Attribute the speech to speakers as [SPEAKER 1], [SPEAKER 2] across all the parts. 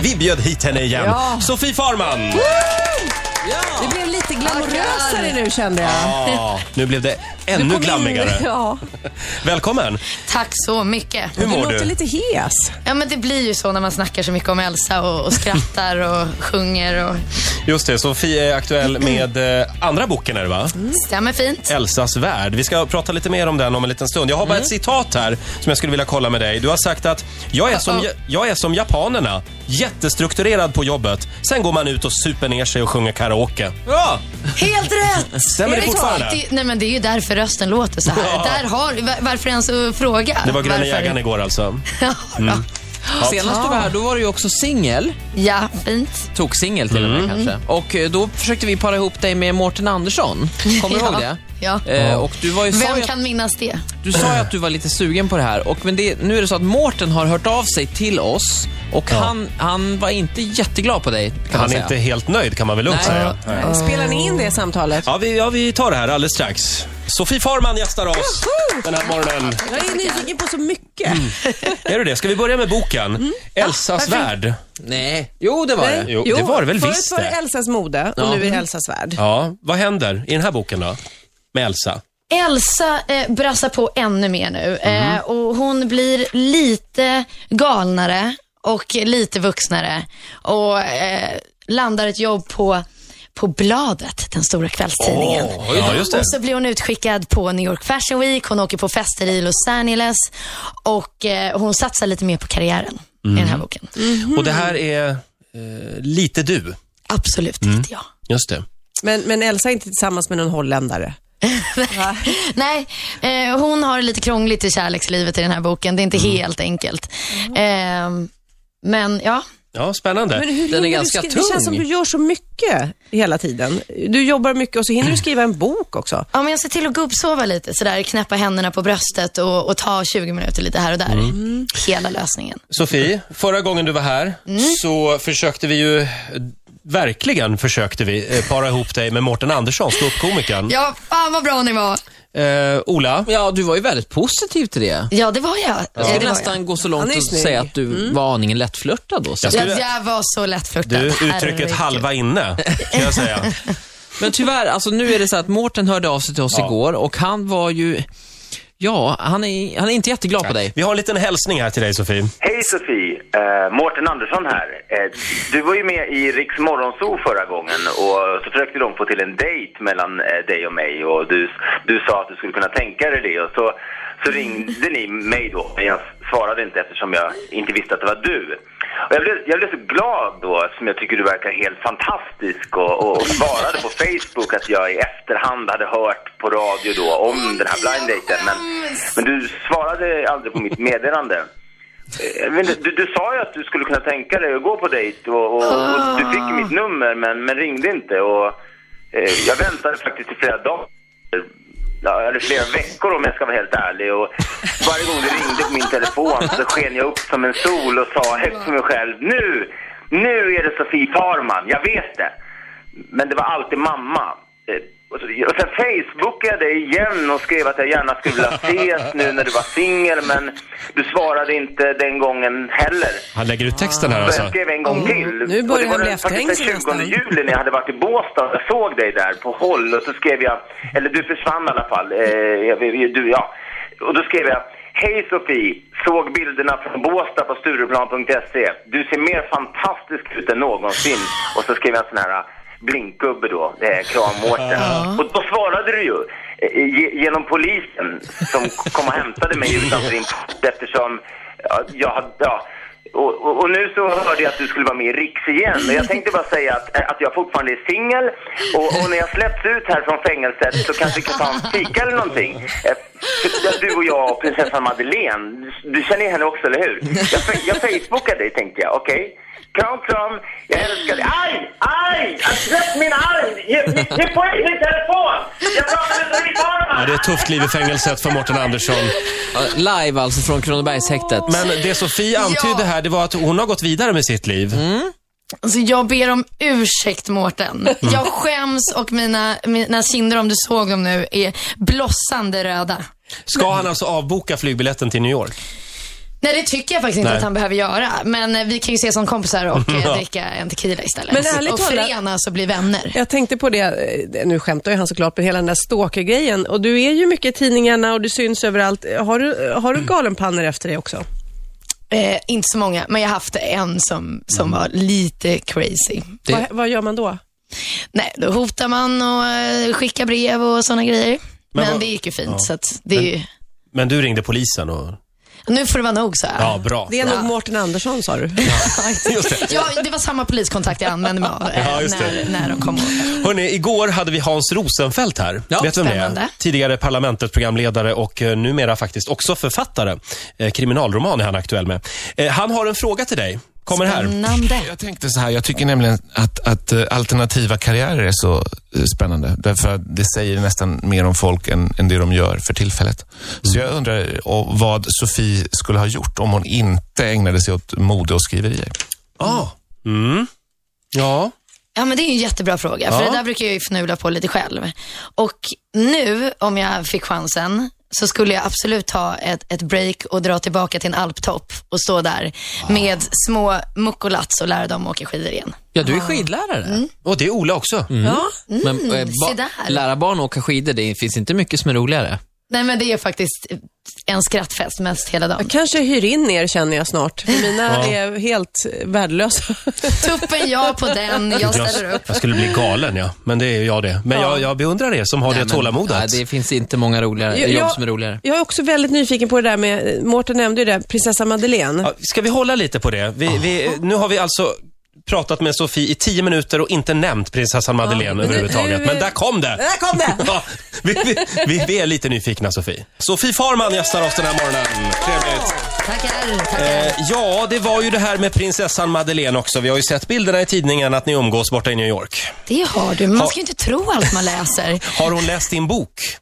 [SPEAKER 1] Vi bjöd hit henne igen.
[SPEAKER 2] Ja.
[SPEAKER 1] Sofie Farman!
[SPEAKER 2] Det blev lite glamorösare nu kände jag.
[SPEAKER 1] Ja, nu blev det ännu
[SPEAKER 2] kom in-
[SPEAKER 1] glammigare.
[SPEAKER 2] Ja.
[SPEAKER 1] Välkommen!
[SPEAKER 3] Tack så mycket.
[SPEAKER 1] Hur mår
[SPEAKER 2] låter
[SPEAKER 1] du?
[SPEAKER 2] lite hes.
[SPEAKER 3] Ja, men det blir ju så när man snackar så mycket om Elsa och, och skrattar och sjunger. Och...
[SPEAKER 1] Just det, Sofie är aktuell med eh, andra boken är det va?
[SPEAKER 2] Mm.
[SPEAKER 3] Stämmer fint.
[SPEAKER 1] Elsas värld. Vi ska prata lite mer om den om en liten stund. Jag har bara ett
[SPEAKER 2] Mm.
[SPEAKER 1] citat här som jag skulle vilja kolla med dig. Du har sagt att jag är som,
[SPEAKER 3] Uh-oh.
[SPEAKER 1] jag är som japanerna, jättestrukturerad på jobbet. Sen går man ut och super ner sig och sjunger karaoke. Ja,
[SPEAKER 3] Helt rätt!
[SPEAKER 1] stämmer det fortfarande?
[SPEAKER 3] Det, nej, men det är ju därför rösten låter så här.
[SPEAKER 1] Ja.
[SPEAKER 3] Där har, var- varför ens uh, fråga?
[SPEAKER 1] Det var Gröna
[SPEAKER 3] Varför?
[SPEAKER 1] jägaren igår alltså.
[SPEAKER 3] Ja, ja.
[SPEAKER 4] Senast du var här, då var du ju också singel.
[SPEAKER 3] ja, fint.
[SPEAKER 4] Tog singel till och med kanske. Och eh, då försökte vi para ihop dig med Mårten Andersson. Kommer du
[SPEAKER 3] Ja.
[SPEAKER 4] ihåg det?
[SPEAKER 3] Ja.
[SPEAKER 4] Eh, och du, var ju, sa
[SPEAKER 3] Vem
[SPEAKER 4] ju att,
[SPEAKER 3] kan minnas det?
[SPEAKER 4] du sa ju att du var lite sugen på det här. Och, men det, nu är det så att Mårten har hört av sig till oss och han, han var inte jätteglad på dig. Kan man
[SPEAKER 1] Han är
[SPEAKER 4] säga.
[SPEAKER 1] inte helt nöjd kan man väl lugnt
[SPEAKER 4] Nej.
[SPEAKER 1] säga.
[SPEAKER 2] Mm. Spelar ni in det samtalet?
[SPEAKER 1] Ja vi, ja, vi tar det här alldeles strax. Sofie Farman gästar oss den här morgonen.
[SPEAKER 2] Jag är nyfiken på så mycket.
[SPEAKER 1] Mm, Är du det? Ska vi börja med boken? Elsas värld.
[SPEAKER 4] Nej. Jo, det var det.
[SPEAKER 1] Jo, det var det väl visst
[SPEAKER 2] Förut var
[SPEAKER 1] det. Mm.
[SPEAKER 2] det Elsas mode och nu är det Elsas värld.
[SPEAKER 1] Ja, vad händer i den här boken då? Med Elsa?
[SPEAKER 3] Elsa eh, brassar på ännu mer nu
[SPEAKER 1] Mhm.
[SPEAKER 3] eh, och hon blir lite galnare och lite vuxnare och eh, landar ett jobb på, på Bladet, den stora kvällstidningen.
[SPEAKER 1] ja, just det.
[SPEAKER 3] Och så blir hon utskickad på New York Fashion Week, hon åker på fester i Los Angeles och eh, hon satsar lite mer på karriären i
[SPEAKER 1] Mm.
[SPEAKER 3] den här boken.
[SPEAKER 1] Och det här är eh, lite du.
[SPEAKER 3] Absolut,
[SPEAKER 1] Mm.
[SPEAKER 3] inte jag.
[SPEAKER 1] Just det.
[SPEAKER 2] Men, men Elsa är inte tillsammans med någon holländare.
[SPEAKER 3] Nej, eh, hon har det lite krångligt i kärlekslivet i den här boken. Det är inte
[SPEAKER 1] Mm.
[SPEAKER 3] helt enkelt. Eh, men ja,
[SPEAKER 1] Ja, spännande.
[SPEAKER 2] Men hur
[SPEAKER 4] Den är
[SPEAKER 2] hinner
[SPEAKER 4] ganska
[SPEAKER 2] du skri- Det känns som
[SPEAKER 4] tung.
[SPEAKER 2] du gör så mycket hela tiden. Du jobbar mycket och så hinner du skriva en bok också.
[SPEAKER 3] ja men jag ser till att gubbsova lite, sådär, knäppa händerna på bröstet och, och ta 20 minuter lite här och där.
[SPEAKER 1] Mm.
[SPEAKER 3] Hela lösningen.
[SPEAKER 1] Sofie, förra gången du var här så försökte vi ju, eh, verkligen försökte vi, eh, para ihop dig med Mårten Andersson, ståuppkomikern.
[SPEAKER 3] Ja, fan vad bra ni var.
[SPEAKER 1] Eh, Ola,
[SPEAKER 4] Ja, du var ju väldigt positiv till det.
[SPEAKER 3] Ja, det var jag. Ja.
[SPEAKER 4] Jag
[SPEAKER 3] det
[SPEAKER 4] skulle
[SPEAKER 3] var jag.
[SPEAKER 4] nästan gå så
[SPEAKER 2] Han är
[SPEAKER 4] långt
[SPEAKER 2] ju
[SPEAKER 4] och
[SPEAKER 2] snygg.
[SPEAKER 4] säga att du var aningen lättflörtad då. Så.
[SPEAKER 1] Jag skulle-
[SPEAKER 3] Jag, jag var så lättflörtad.
[SPEAKER 1] du, uttrycket
[SPEAKER 3] Herregud.
[SPEAKER 1] halva inne, kan jag säga.
[SPEAKER 4] Men tyvärr, alltså nu är det så att Mårten hörde av sig till oss
[SPEAKER 1] Ja.
[SPEAKER 4] igår och han var ju, ja, han är, han är inte jätteglad på dig.
[SPEAKER 1] Vi har en liten hälsning här till dig, Sofie.
[SPEAKER 5] Hej Sofie, eh, Mårten Andersson här. Eh, du var ju med i Riks Morgonzoo förra gången och så försökte de få till en dejt mellan eh, dig och mig och du, du sa att du skulle kunna tänka dig det och så, så ringde ni mig då men jag svarade inte eftersom jag inte visste att det var du. Och jag, blev, jag blev så glad då eftersom jag tycker du verkar helt fantastisk och, och svarade på Facebook att jag i efterhand hade hört på radio då om den här blind daten men, men du svarade aldrig på mitt meddelande. Jag vet inte, Eh, du, du sa ju att du skulle kunna tänka dig att gå på dejt och, och, och du fick mitt nummer men, men ringde inte och eh, jag väntade faktiskt i flera dagar. Ja, eller flera veckor om jag ska vara helt ärlig och varje gång du ringde på min telefon så sken jag upp som en sol och sa högt för mig själv nu, nu är det Sofie Farman, jag vet det. Men det var alltid mamma. Eh, Och så- och sen facebookade jag dig igen och skrev att jag gärna skulle vilja ses nu när du var singel men du svarade inte den gången heller.
[SPEAKER 1] Han lägger ut texten här
[SPEAKER 5] Så jag
[SPEAKER 1] alltså.
[SPEAKER 5] skrev en gång till.
[SPEAKER 2] nu börjar
[SPEAKER 5] Och det var
[SPEAKER 2] han bli
[SPEAKER 5] den- faktiskt
[SPEAKER 2] efterhängsen
[SPEAKER 5] den 20
[SPEAKER 2] nästan.
[SPEAKER 5] juli när jag hade varit i Båstad. Jag såg dig där på håll och så skrev jag, eller du försvann i alla fall. Eh, jag, vet- du, ja. Och då skrev jag, hej Sofie, såg bilderna från Båstad på Stureplan.se. Du ser mer fantastisk ut än någonsin. Och så skrev jag en sån här blinkgubbe då, eh, kram Mårten. Och då svarade du ju. eh, ge- Genom polisen som kom och hämtade mig utanför din port eftersom ja, jag hade, ja, och, och, och nu så hörde jag att du skulle vara med i Riks igen. Men jag tänkte bara säga att, att jag fortfarande är singel. Och, och när jag släpps ut här från fängelset så kanske vi kan ta en fika eller någonting. Eh, för Du och jag och prinsessan Madeleine. Du, du känner ju henne också, eller hur? Jag, fe- jag facebookar dig, tänkte jag. Okej? Kram, kram. Jag älskar dig. Aj! Aj! Släpp min arm! Ge, ge poäng min telefon! Jag pratar med Sofie Farman!
[SPEAKER 1] Ja, det är ett tufft liv i fängelset för Mårten Andersson.
[SPEAKER 4] Ja, Live alltså från Kronobergshäktet.
[SPEAKER 1] Men det Sofie antydde
[SPEAKER 3] Ja.
[SPEAKER 1] här, det var att hon har gått vidare med sitt liv.
[SPEAKER 3] Alltså, jag ber om ursäkt, Mårten.
[SPEAKER 1] Mm.
[SPEAKER 3] Jag skäms och mina, mina kinder, om du såg dem nu, är blossande röda.
[SPEAKER 1] Ska han alltså avboka flygbiljetten till New York?
[SPEAKER 3] Nej, det tycker jag faktiskt inte
[SPEAKER 1] Nej.
[SPEAKER 3] att han behöver göra. Men eh, vi kan ju ses som kompisar och eh,
[SPEAKER 1] Ja.
[SPEAKER 3] dricka en tequila istället.
[SPEAKER 2] Men ärligt
[SPEAKER 3] och
[SPEAKER 2] talat-
[SPEAKER 3] förenas och bli vänner.
[SPEAKER 2] Jag tänkte på det, eh, nu skämtar ju han såklart, men hela den där stalker-grejen. Och du är ju mycket i tidningarna och du syns överallt. Har du, har du galenpannor efter dig också?
[SPEAKER 3] Eh, inte så många, men jag har haft en som, som
[SPEAKER 1] Mm.
[SPEAKER 3] var lite crazy.
[SPEAKER 4] Det-
[SPEAKER 2] Vad, vad gör man då?
[SPEAKER 3] Nej, då hotar man och eh, skickar brev och sådana grejer.
[SPEAKER 1] Men
[SPEAKER 3] Men,
[SPEAKER 1] vad-
[SPEAKER 3] det gick ju fint,
[SPEAKER 1] Ja.
[SPEAKER 3] så att det är ju...
[SPEAKER 1] Men du ringde polisen och...
[SPEAKER 3] Nu får det vara nog, så
[SPEAKER 1] Ja, bra.
[SPEAKER 2] Det är nog Mårten Andersson sa
[SPEAKER 4] Mm.
[SPEAKER 2] du.
[SPEAKER 1] Just det.
[SPEAKER 3] Ja, det var samma poliskontakt jag använde mig av eh,
[SPEAKER 1] Ja, just det.
[SPEAKER 3] när, när de kom och
[SPEAKER 1] Hörrni, igår hade vi Hans Rosenfeldt här.
[SPEAKER 4] Ja.
[SPEAKER 1] Vet du vem det är?
[SPEAKER 3] Spännande.
[SPEAKER 1] Tidigare Parlamentet programledare och eh, numera faktiskt också författare. Eh, kriminalroman är han aktuell med. Eh, han har en fråga till dig. Kommer här.
[SPEAKER 3] Spännande.
[SPEAKER 6] Jag tänkte så här, jag tycker nämligen att, att eh, alternativa karriärer är så eh, spännande. Därför att det säger nästan mer om folk än, än det de gör för tillfället. Så jag undrar eh, och vad Sofie skulle ha gjort om hon inte ägnade sig åt mode och skriverier.
[SPEAKER 1] Ah. Mm. Ja.
[SPEAKER 3] Ja, men det är en jättebra fråga, för
[SPEAKER 1] Ja.
[SPEAKER 3] det där brukar jag ju fnula på lite själv. Och nu, om jag fick chansen, så skulle jag absolut ta ett, ett break och dra tillbaka till en alptopp och stå där
[SPEAKER 1] Ah.
[SPEAKER 3] med små muckolats och lära dem åka skidor igen.
[SPEAKER 4] Ja, du är skidlärare.
[SPEAKER 1] Och det är Ola också.
[SPEAKER 2] Ja.
[SPEAKER 4] Men eh,
[SPEAKER 3] Mm, se där.
[SPEAKER 4] lära barn att åka skidor, det finns inte mycket som är roligare.
[SPEAKER 3] Nej, men det är faktiskt en skrattfest mest hela dagen.
[SPEAKER 2] Jag kanske hyr in er känner jag snart. För mina är helt värdelösa.
[SPEAKER 3] Tuppen ja på den, jag ställer upp.
[SPEAKER 1] jag skulle bli galen, ja. Men det är ju jag det. Men jag, jag beundrar er som har det
[SPEAKER 4] Nej, men-
[SPEAKER 1] tålamodet.
[SPEAKER 4] Nej, det finns inte många roligare,
[SPEAKER 2] Jag-
[SPEAKER 4] jobb
[SPEAKER 2] jag-
[SPEAKER 4] som är roligare.
[SPEAKER 2] Jag är också väldigt nyfiken på det där med, Mårten nämnde ju det, prinsessa Madeleine.
[SPEAKER 1] Ja, Ska vi hålla lite på det? Vi, vi, nu har vi alltså pratat med Sofie i tio minuter och inte nämnt prinsessan Madeleine
[SPEAKER 2] men nu-
[SPEAKER 1] överhuvudtaget.
[SPEAKER 2] nu-
[SPEAKER 1] men där kom det!
[SPEAKER 2] Där kom det!
[SPEAKER 1] Ja, vi, vi, vi, vi är lite nyfikna, Sofie. Sofie Farman gästar oss den här morgonen. Trevligt.
[SPEAKER 3] Tackar, tackar.
[SPEAKER 1] Eh, ja, det var ju det här med prinsessan Madeleine också. Vi har ju sett bilderna i tidningen att ni umgås borta i New York.
[SPEAKER 3] Det har du, men man ska ju inte tro allt man läser.
[SPEAKER 1] Har hon läst din bok?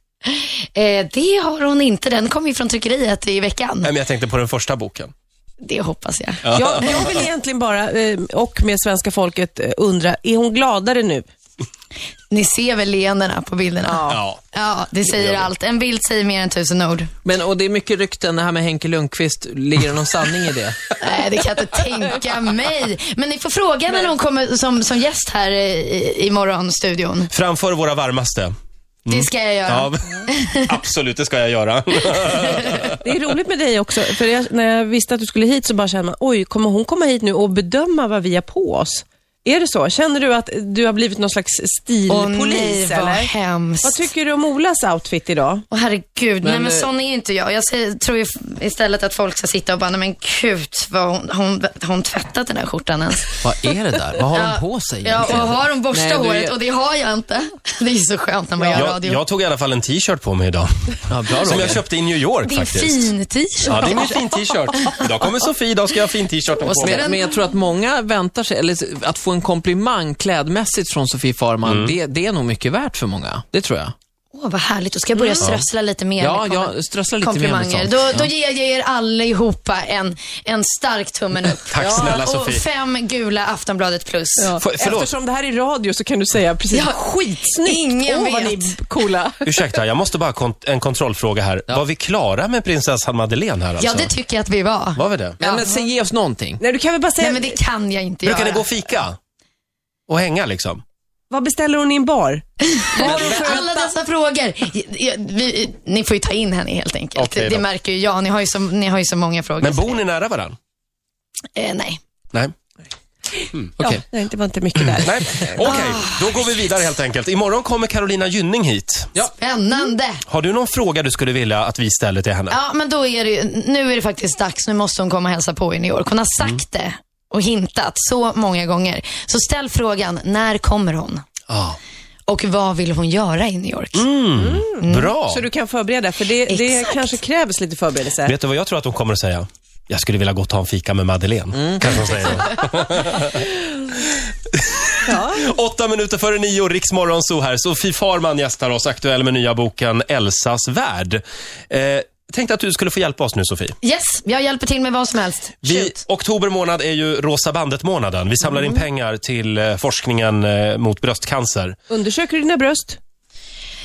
[SPEAKER 3] Eh, det har hon inte, den kom ju från tryckeriet i veckan.
[SPEAKER 1] Nej, men jag tänkte på den första boken.
[SPEAKER 3] Det hoppas jag.
[SPEAKER 2] Jag, jag vill egentligen bara, eh, och med svenska folket, eh, undra, är hon gladare nu?
[SPEAKER 3] Ni ser väl leendena på bilderna?
[SPEAKER 1] Ja.
[SPEAKER 3] Ja, det säger allt. En bild säger mer än tusen ord.
[SPEAKER 4] Men, och det är mycket rykten, det här med Henke Lundqvist, ligger det någon sanning i det?
[SPEAKER 3] Nej, det kan jag inte tänka mig. Men ni får fråga när hon kommer som, som gäst här i, i- imorgon, studion.
[SPEAKER 1] Framför våra varmaste.
[SPEAKER 3] Det ska jag göra.
[SPEAKER 1] Ja, absolut, det ska jag göra.
[SPEAKER 2] Det är roligt med dig också, för jag, när jag visste att du skulle hit så bara kände man, oj, kommer hon komma hit nu och bedöma vad vi har på oss? Är det så? Känner du att du har blivit någon slags
[SPEAKER 3] Åh
[SPEAKER 2] stilpolis?
[SPEAKER 3] nej, vad
[SPEAKER 2] eller?
[SPEAKER 3] hemskt.
[SPEAKER 2] Vad tycker du om Olas outfit idag?
[SPEAKER 3] Åh herregud, nej
[SPEAKER 4] Men,
[SPEAKER 3] men
[SPEAKER 4] eh,
[SPEAKER 3] sån är ju inte jag. Jag säger, tror ju istället att folk ska sitta och bara, nej men gud, vad hon, hon, har hon tvättat den här skjortan ens?
[SPEAKER 4] Vad är det där? Vad har
[SPEAKER 3] Ja.
[SPEAKER 4] de på sig
[SPEAKER 3] Ja, och
[SPEAKER 4] egentligen?
[SPEAKER 3] har hon borstat
[SPEAKER 4] Nej, du är-
[SPEAKER 3] håret? Och det har jag inte. Det är så skönt när man gör
[SPEAKER 1] Jag,
[SPEAKER 3] radio.
[SPEAKER 1] jag tog i alla fall en t-shirt på mig idag.
[SPEAKER 4] Ja, bra,
[SPEAKER 1] Som jag
[SPEAKER 4] Roger.
[SPEAKER 1] köpte i New York
[SPEAKER 3] Din
[SPEAKER 1] faktiskt.
[SPEAKER 3] fin t-shirt.
[SPEAKER 1] Ja, det är min fin t-shirt. Idag kommer Sofie, idag ska jag ha fin t-shirt på
[SPEAKER 3] snäll.
[SPEAKER 1] mig.
[SPEAKER 4] Men, men jag tror att många väntar sig, eller att få en komplimang klädmässigt från Sofie Farman, det, det är nog mycket värt för många. Det tror jag.
[SPEAKER 3] Åh, vad härligt. Då ska jag börja strössla lite mer
[SPEAKER 4] Ja,
[SPEAKER 3] med kom-
[SPEAKER 4] jag strösslar lite mer med
[SPEAKER 3] komplimanger.
[SPEAKER 4] sånt.
[SPEAKER 3] Då,
[SPEAKER 4] Ja.
[SPEAKER 3] då ger jag er allihopa en, en stark tummen upp.
[SPEAKER 1] Tack snälla,
[SPEAKER 3] och
[SPEAKER 1] Sofie.
[SPEAKER 3] fem gula Aftonbladet plus.
[SPEAKER 1] För- förlåt.
[SPEAKER 2] Eftersom det här är radio så kan du säga precis
[SPEAKER 3] Ja,
[SPEAKER 2] skitsnyggt.
[SPEAKER 3] ingen
[SPEAKER 2] Åh, vad
[SPEAKER 3] vet.
[SPEAKER 2] ni är coola.
[SPEAKER 1] Ursäkta, jag måste bara kont- en kontrollfråga här. Var vi klara med prinsessan Madeleine här alltså?
[SPEAKER 3] Ja, det tycker jag att vi var.
[SPEAKER 1] Var vi det?
[SPEAKER 4] Men, men sen ge oss någonting.
[SPEAKER 2] Nej, du kan väl bara säga,
[SPEAKER 3] Nej, men det kan jag inte
[SPEAKER 1] Brukar ni
[SPEAKER 3] göra.
[SPEAKER 1] gå och fika? Och hänga liksom?
[SPEAKER 2] vad beställer hon i en bar?
[SPEAKER 3] Alla dessa frågor. Jag- jag- Vi, ni får ju ta in henne helt enkelt.
[SPEAKER 1] Okej då.
[SPEAKER 3] det märker ju jag. Ni har ju så, ni har ju så många frågor.
[SPEAKER 1] Men bor ni nära varann?
[SPEAKER 3] eh, nej.
[SPEAKER 1] Nej.
[SPEAKER 4] Okej.
[SPEAKER 2] Ja, nej, det var inte mycket där.
[SPEAKER 1] Nej. Okej, då går vi vidare helt enkelt. Imorgon kommer Carolina Gynning hit.
[SPEAKER 3] Spännande.
[SPEAKER 1] Har du någon fråga du skulle vilja att vi ställer till henne?
[SPEAKER 3] Ja, men då är det ju, nu är det faktiskt dags. Nu måste hon komma och hälsa på i New York. Hon har sagt
[SPEAKER 1] Mm.
[SPEAKER 3] det och hintat så många gånger. Så ställ frågan, när kommer hon?
[SPEAKER 1] Ja.
[SPEAKER 3] Och vad vill hon göra i New York?
[SPEAKER 1] Mm.
[SPEAKER 3] Mm.
[SPEAKER 1] Bra.
[SPEAKER 2] Så du kan förbereda, för det, det
[SPEAKER 3] Exakt.
[SPEAKER 2] kanske krävs lite förberedelse.
[SPEAKER 1] Vet du vad jag tror att hon kommer att säga? Jag skulle vilja gå och ta en fika med Madeleine.
[SPEAKER 2] Mm.
[SPEAKER 1] Kanske hon säger då. Åtta minuter före nio, Riksmorgon så här. Sofie Farman gästar oss, aktuell med nya boken Elsas värld. Eh, tänkte att du skulle få hjälpa oss nu, Sofie.
[SPEAKER 3] Yes, jag hjälper till med vad som helst.
[SPEAKER 1] Vi,
[SPEAKER 3] Shoot.
[SPEAKER 1] oktober månad är ju Rosa bandet-månaden. Vi samlar
[SPEAKER 2] Mm.
[SPEAKER 1] in pengar till eh, forskningen eh, mot bröstcancer.
[SPEAKER 2] Undersöker du dina bröst?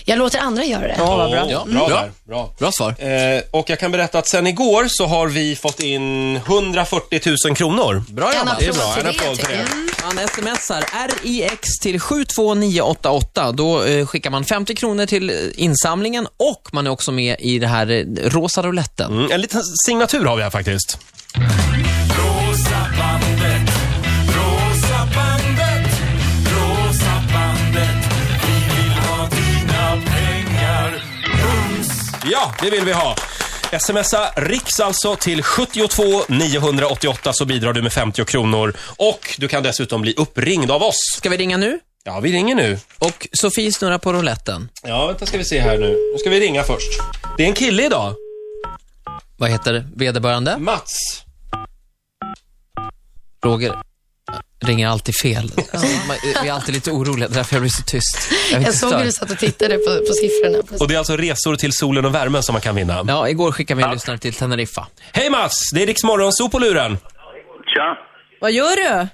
[SPEAKER 3] Jag låter andra göra det.
[SPEAKER 2] Ja, vad bra. Mm.
[SPEAKER 1] Ja, bra,
[SPEAKER 4] Bra.
[SPEAKER 1] där. Bra.
[SPEAKER 4] Bra svar.
[SPEAKER 1] Eh, och jag kan berätta att sen igår så har vi fått in 140 000 kronor.
[SPEAKER 4] Bra
[SPEAKER 3] En
[SPEAKER 4] jobbat.
[SPEAKER 1] det är bra.
[SPEAKER 3] applåd
[SPEAKER 1] En
[SPEAKER 3] till det,
[SPEAKER 1] applåd till
[SPEAKER 3] tycker jag.
[SPEAKER 1] det.
[SPEAKER 3] Mm.
[SPEAKER 4] Man smsar RIX till 72988. Då eh, skickar man 50 kronor till eh, insamlingen och man är också med i det här eh, rosa rouletten.
[SPEAKER 1] Mm, en liten signatur har vi här faktiskt.
[SPEAKER 7] Rosa bandet, rosa bandet, rosa bandet. Vi vill ha dina pengar. Mums!
[SPEAKER 1] Ja, det vill vi ha. Smsa Riks alltså till 72 988 så bidrar du med 50 kronor. Och du kan dessutom bli uppringd av oss.
[SPEAKER 4] Ska vi ringa nu?
[SPEAKER 1] Ja, vi ringer nu.
[SPEAKER 4] Och Sofie snurrar på rouletten.
[SPEAKER 1] Ja, vänta ska vi se här nu. Nu ska vi ringa först. Det är en kille idag.
[SPEAKER 4] Vad heter vederbörande?
[SPEAKER 1] Mats.
[SPEAKER 4] Roger ringer alltid fel. Man, vi är alltid lite oroliga, det är därför jag blir så tyst. Jag, blir
[SPEAKER 3] Jag såg hur
[SPEAKER 4] störd.
[SPEAKER 3] du satt och tittade på, på siffrorna.
[SPEAKER 1] Och det är alltså resor till solen och värmen som man kan vinna.
[SPEAKER 4] Ja, igår skickade vi en lyssnare till Teneriffa.
[SPEAKER 1] Hej Mats! Det är Riks Morgonzoo på luren.
[SPEAKER 8] Tja.
[SPEAKER 2] Vad gör du?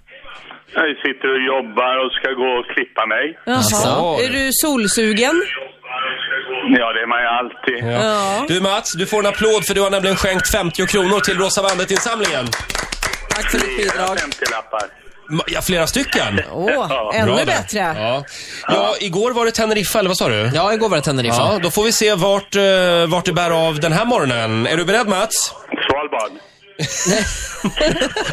[SPEAKER 8] Jag sitter och jobbar och ska gå och klippa mig.
[SPEAKER 2] Jaha.
[SPEAKER 4] Alltså.
[SPEAKER 2] Är du solsugen?
[SPEAKER 8] Ja, det är man ju alltid.
[SPEAKER 2] Ja.
[SPEAKER 1] Du Mats, du får en applåd för du har nämligen skänkt 50 kronor till Rosa Bandet-insamlingen.
[SPEAKER 4] Tack för ditt bidrag.
[SPEAKER 8] 50-lappar.
[SPEAKER 1] Ma- Ja, flera stycken.
[SPEAKER 2] Åh,
[SPEAKER 8] Ja.
[SPEAKER 1] Bra
[SPEAKER 2] ännu
[SPEAKER 1] där.
[SPEAKER 2] bättre.
[SPEAKER 1] Ja. ja, igår var det Teneriffa, eller vad sa du?
[SPEAKER 4] Ja, igår var det Teneriffa.
[SPEAKER 1] Ja, då får vi se vart, eh, vart det bär av den här morgonen. Är du beredd Mats?
[SPEAKER 8] Svalbard.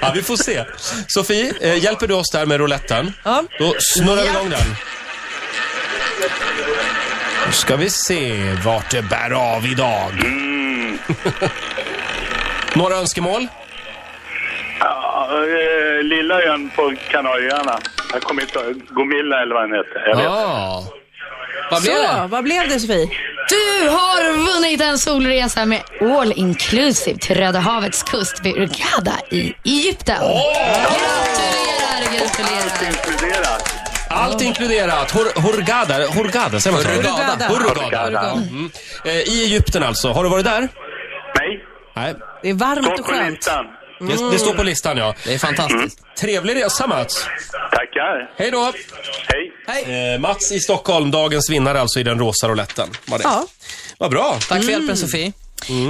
[SPEAKER 1] Ja, vi får se. Sofie, eh, hjälper du oss där med rouletten?
[SPEAKER 2] Ja.
[SPEAKER 1] Då snurrar vi igång den. Nu ska vi se vart det bär av idag. Några önskemål?
[SPEAKER 8] Ja, eh, Lilla ön på Kanarieöarna. Jag kommer inte ihåg. Gomilla eller vad den heter. Jag vet.
[SPEAKER 4] Ja. Vad blev
[SPEAKER 2] Så,
[SPEAKER 4] det?
[SPEAKER 2] vad blev det Sofie?
[SPEAKER 3] Du har vunnit en solresa med all inclusive till Röda havets kust vid Hurghada i Egypten. Gratulerar, gratulerar.
[SPEAKER 8] Inkluderat.
[SPEAKER 1] Allt inkluderat. Hor- Hurghada, Hurghada säger man så?
[SPEAKER 4] Hurghada.
[SPEAKER 1] Hurghada. Mm. Eh, I Egypten alltså. Har du varit där?
[SPEAKER 8] Nej,
[SPEAKER 1] Nej.
[SPEAKER 2] Det är varmt
[SPEAKER 8] står
[SPEAKER 2] och
[SPEAKER 8] på
[SPEAKER 2] skönt.
[SPEAKER 8] listan.
[SPEAKER 1] Det, det står på listan ja.
[SPEAKER 4] Det är fantastiskt.
[SPEAKER 1] Mm. Trevlig resa Mats.
[SPEAKER 8] Tackar.
[SPEAKER 1] Hej då.
[SPEAKER 8] Hej.
[SPEAKER 1] Eh, Mats i Stockholm, dagens vinnare alltså i den rosa rouletten. Var det.
[SPEAKER 2] Ja.
[SPEAKER 1] Vad bra.
[SPEAKER 4] Tack för hjälpen, Sofie.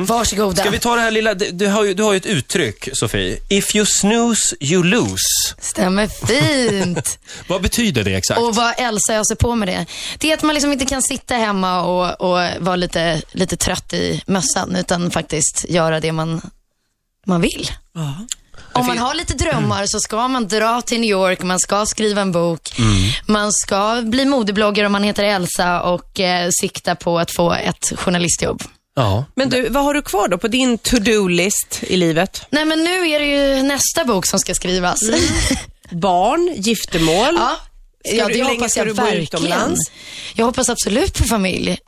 [SPEAKER 3] Varsågoda.
[SPEAKER 1] Mm. Ska vi ta det här lilla, du, du, har ju, du har ju ett uttryck Sofie. If you snooze, you lose.
[SPEAKER 3] Stämmer fint.
[SPEAKER 1] Vad betyder det exakt?
[SPEAKER 3] Och vad Elsa öser på med det. Det är att man liksom inte kan sitta hemma och, och vara lite, lite trött i mössan, utan faktiskt göra det man, man vill. Om man har lite drömmar så ska man dra till New York, man ska skriva en bok, man ska bli modebloggare om man heter Elsa och eh, sikta på att få ett journalistjobb.
[SPEAKER 1] Ja.
[SPEAKER 2] Men du, vad har du kvar då på din to-do-list i livet?
[SPEAKER 3] Nej men nu är det ju nästa bok som ska skrivas.
[SPEAKER 2] Barn, giftermål.
[SPEAKER 3] Ja.
[SPEAKER 2] Ska
[SPEAKER 3] ja,
[SPEAKER 2] du-
[SPEAKER 3] det
[SPEAKER 2] hur länge
[SPEAKER 3] hoppas
[SPEAKER 2] ska
[SPEAKER 3] jag
[SPEAKER 2] du bo
[SPEAKER 3] verkligen.
[SPEAKER 2] utomlands?
[SPEAKER 3] Jag hoppas absolut på familj. Eh,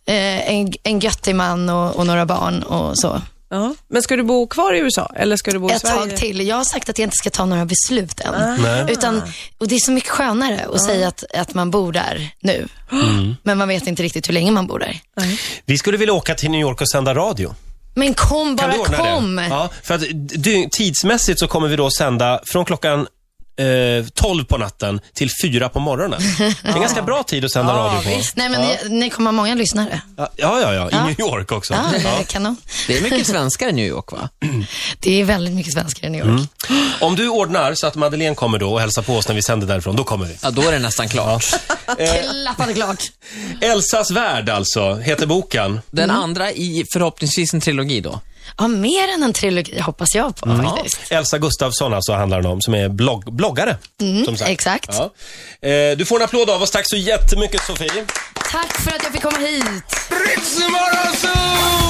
[SPEAKER 3] en, en göttig man och, och några barn och så.
[SPEAKER 2] Ja. Men ska du bo kvar i USA eller ska du bo i
[SPEAKER 3] Ett
[SPEAKER 2] Sverige? Ah.
[SPEAKER 3] tag till. Jag har sagt att jag inte ska ta några beslut än. Utan, och det är så mycket skönare att säga att, att man bor där nu.
[SPEAKER 1] Mm.
[SPEAKER 3] Men man vet inte riktigt hur länge man bor där.
[SPEAKER 1] Vi skulle vilja åka till New York och sända radio.
[SPEAKER 3] Men kom,
[SPEAKER 1] Kan
[SPEAKER 3] bara
[SPEAKER 1] du ordna
[SPEAKER 3] kom.
[SPEAKER 1] det? Ja, för att dy- tidsmässigt så kommer vi då sända från klockan eh, 12 på natten till 4 på morgonen. Det är en ganska bra tid att sända radio på.
[SPEAKER 3] Nej, men ni, ni kommer ha många lyssnare.
[SPEAKER 1] Ja, ja, ja, ja. i New York också.
[SPEAKER 3] Ja, det
[SPEAKER 1] Ja.
[SPEAKER 3] är kanon.
[SPEAKER 4] Det är mycket svenskar i New York, va?
[SPEAKER 3] Det är väldigt mycket svenskar i New York.
[SPEAKER 1] Mm. Om du ordnar så att Madeleine kommer då och hälsar på oss när vi sänder därifrån, då kommer vi.
[SPEAKER 4] Ja, då är det nästan klart.
[SPEAKER 3] Klappande klart.
[SPEAKER 1] Elsas värld alltså, heter boken.
[SPEAKER 4] Den andra i förhoppningsvis en trilogi då.
[SPEAKER 3] Ja, mer än en trilogi hoppas jag på
[SPEAKER 1] Mm.
[SPEAKER 3] faktiskt.
[SPEAKER 1] Elsa Gustafsson alltså handlar den om, som är blogg- bloggare. som sagt.
[SPEAKER 3] exakt.
[SPEAKER 1] Ja. Eh, du får en applåd av oss. Tack så jättemycket Sofie.
[SPEAKER 3] Tack för att jag fick komma hit.
[SPEAKER 1] Riksmorgonzoo!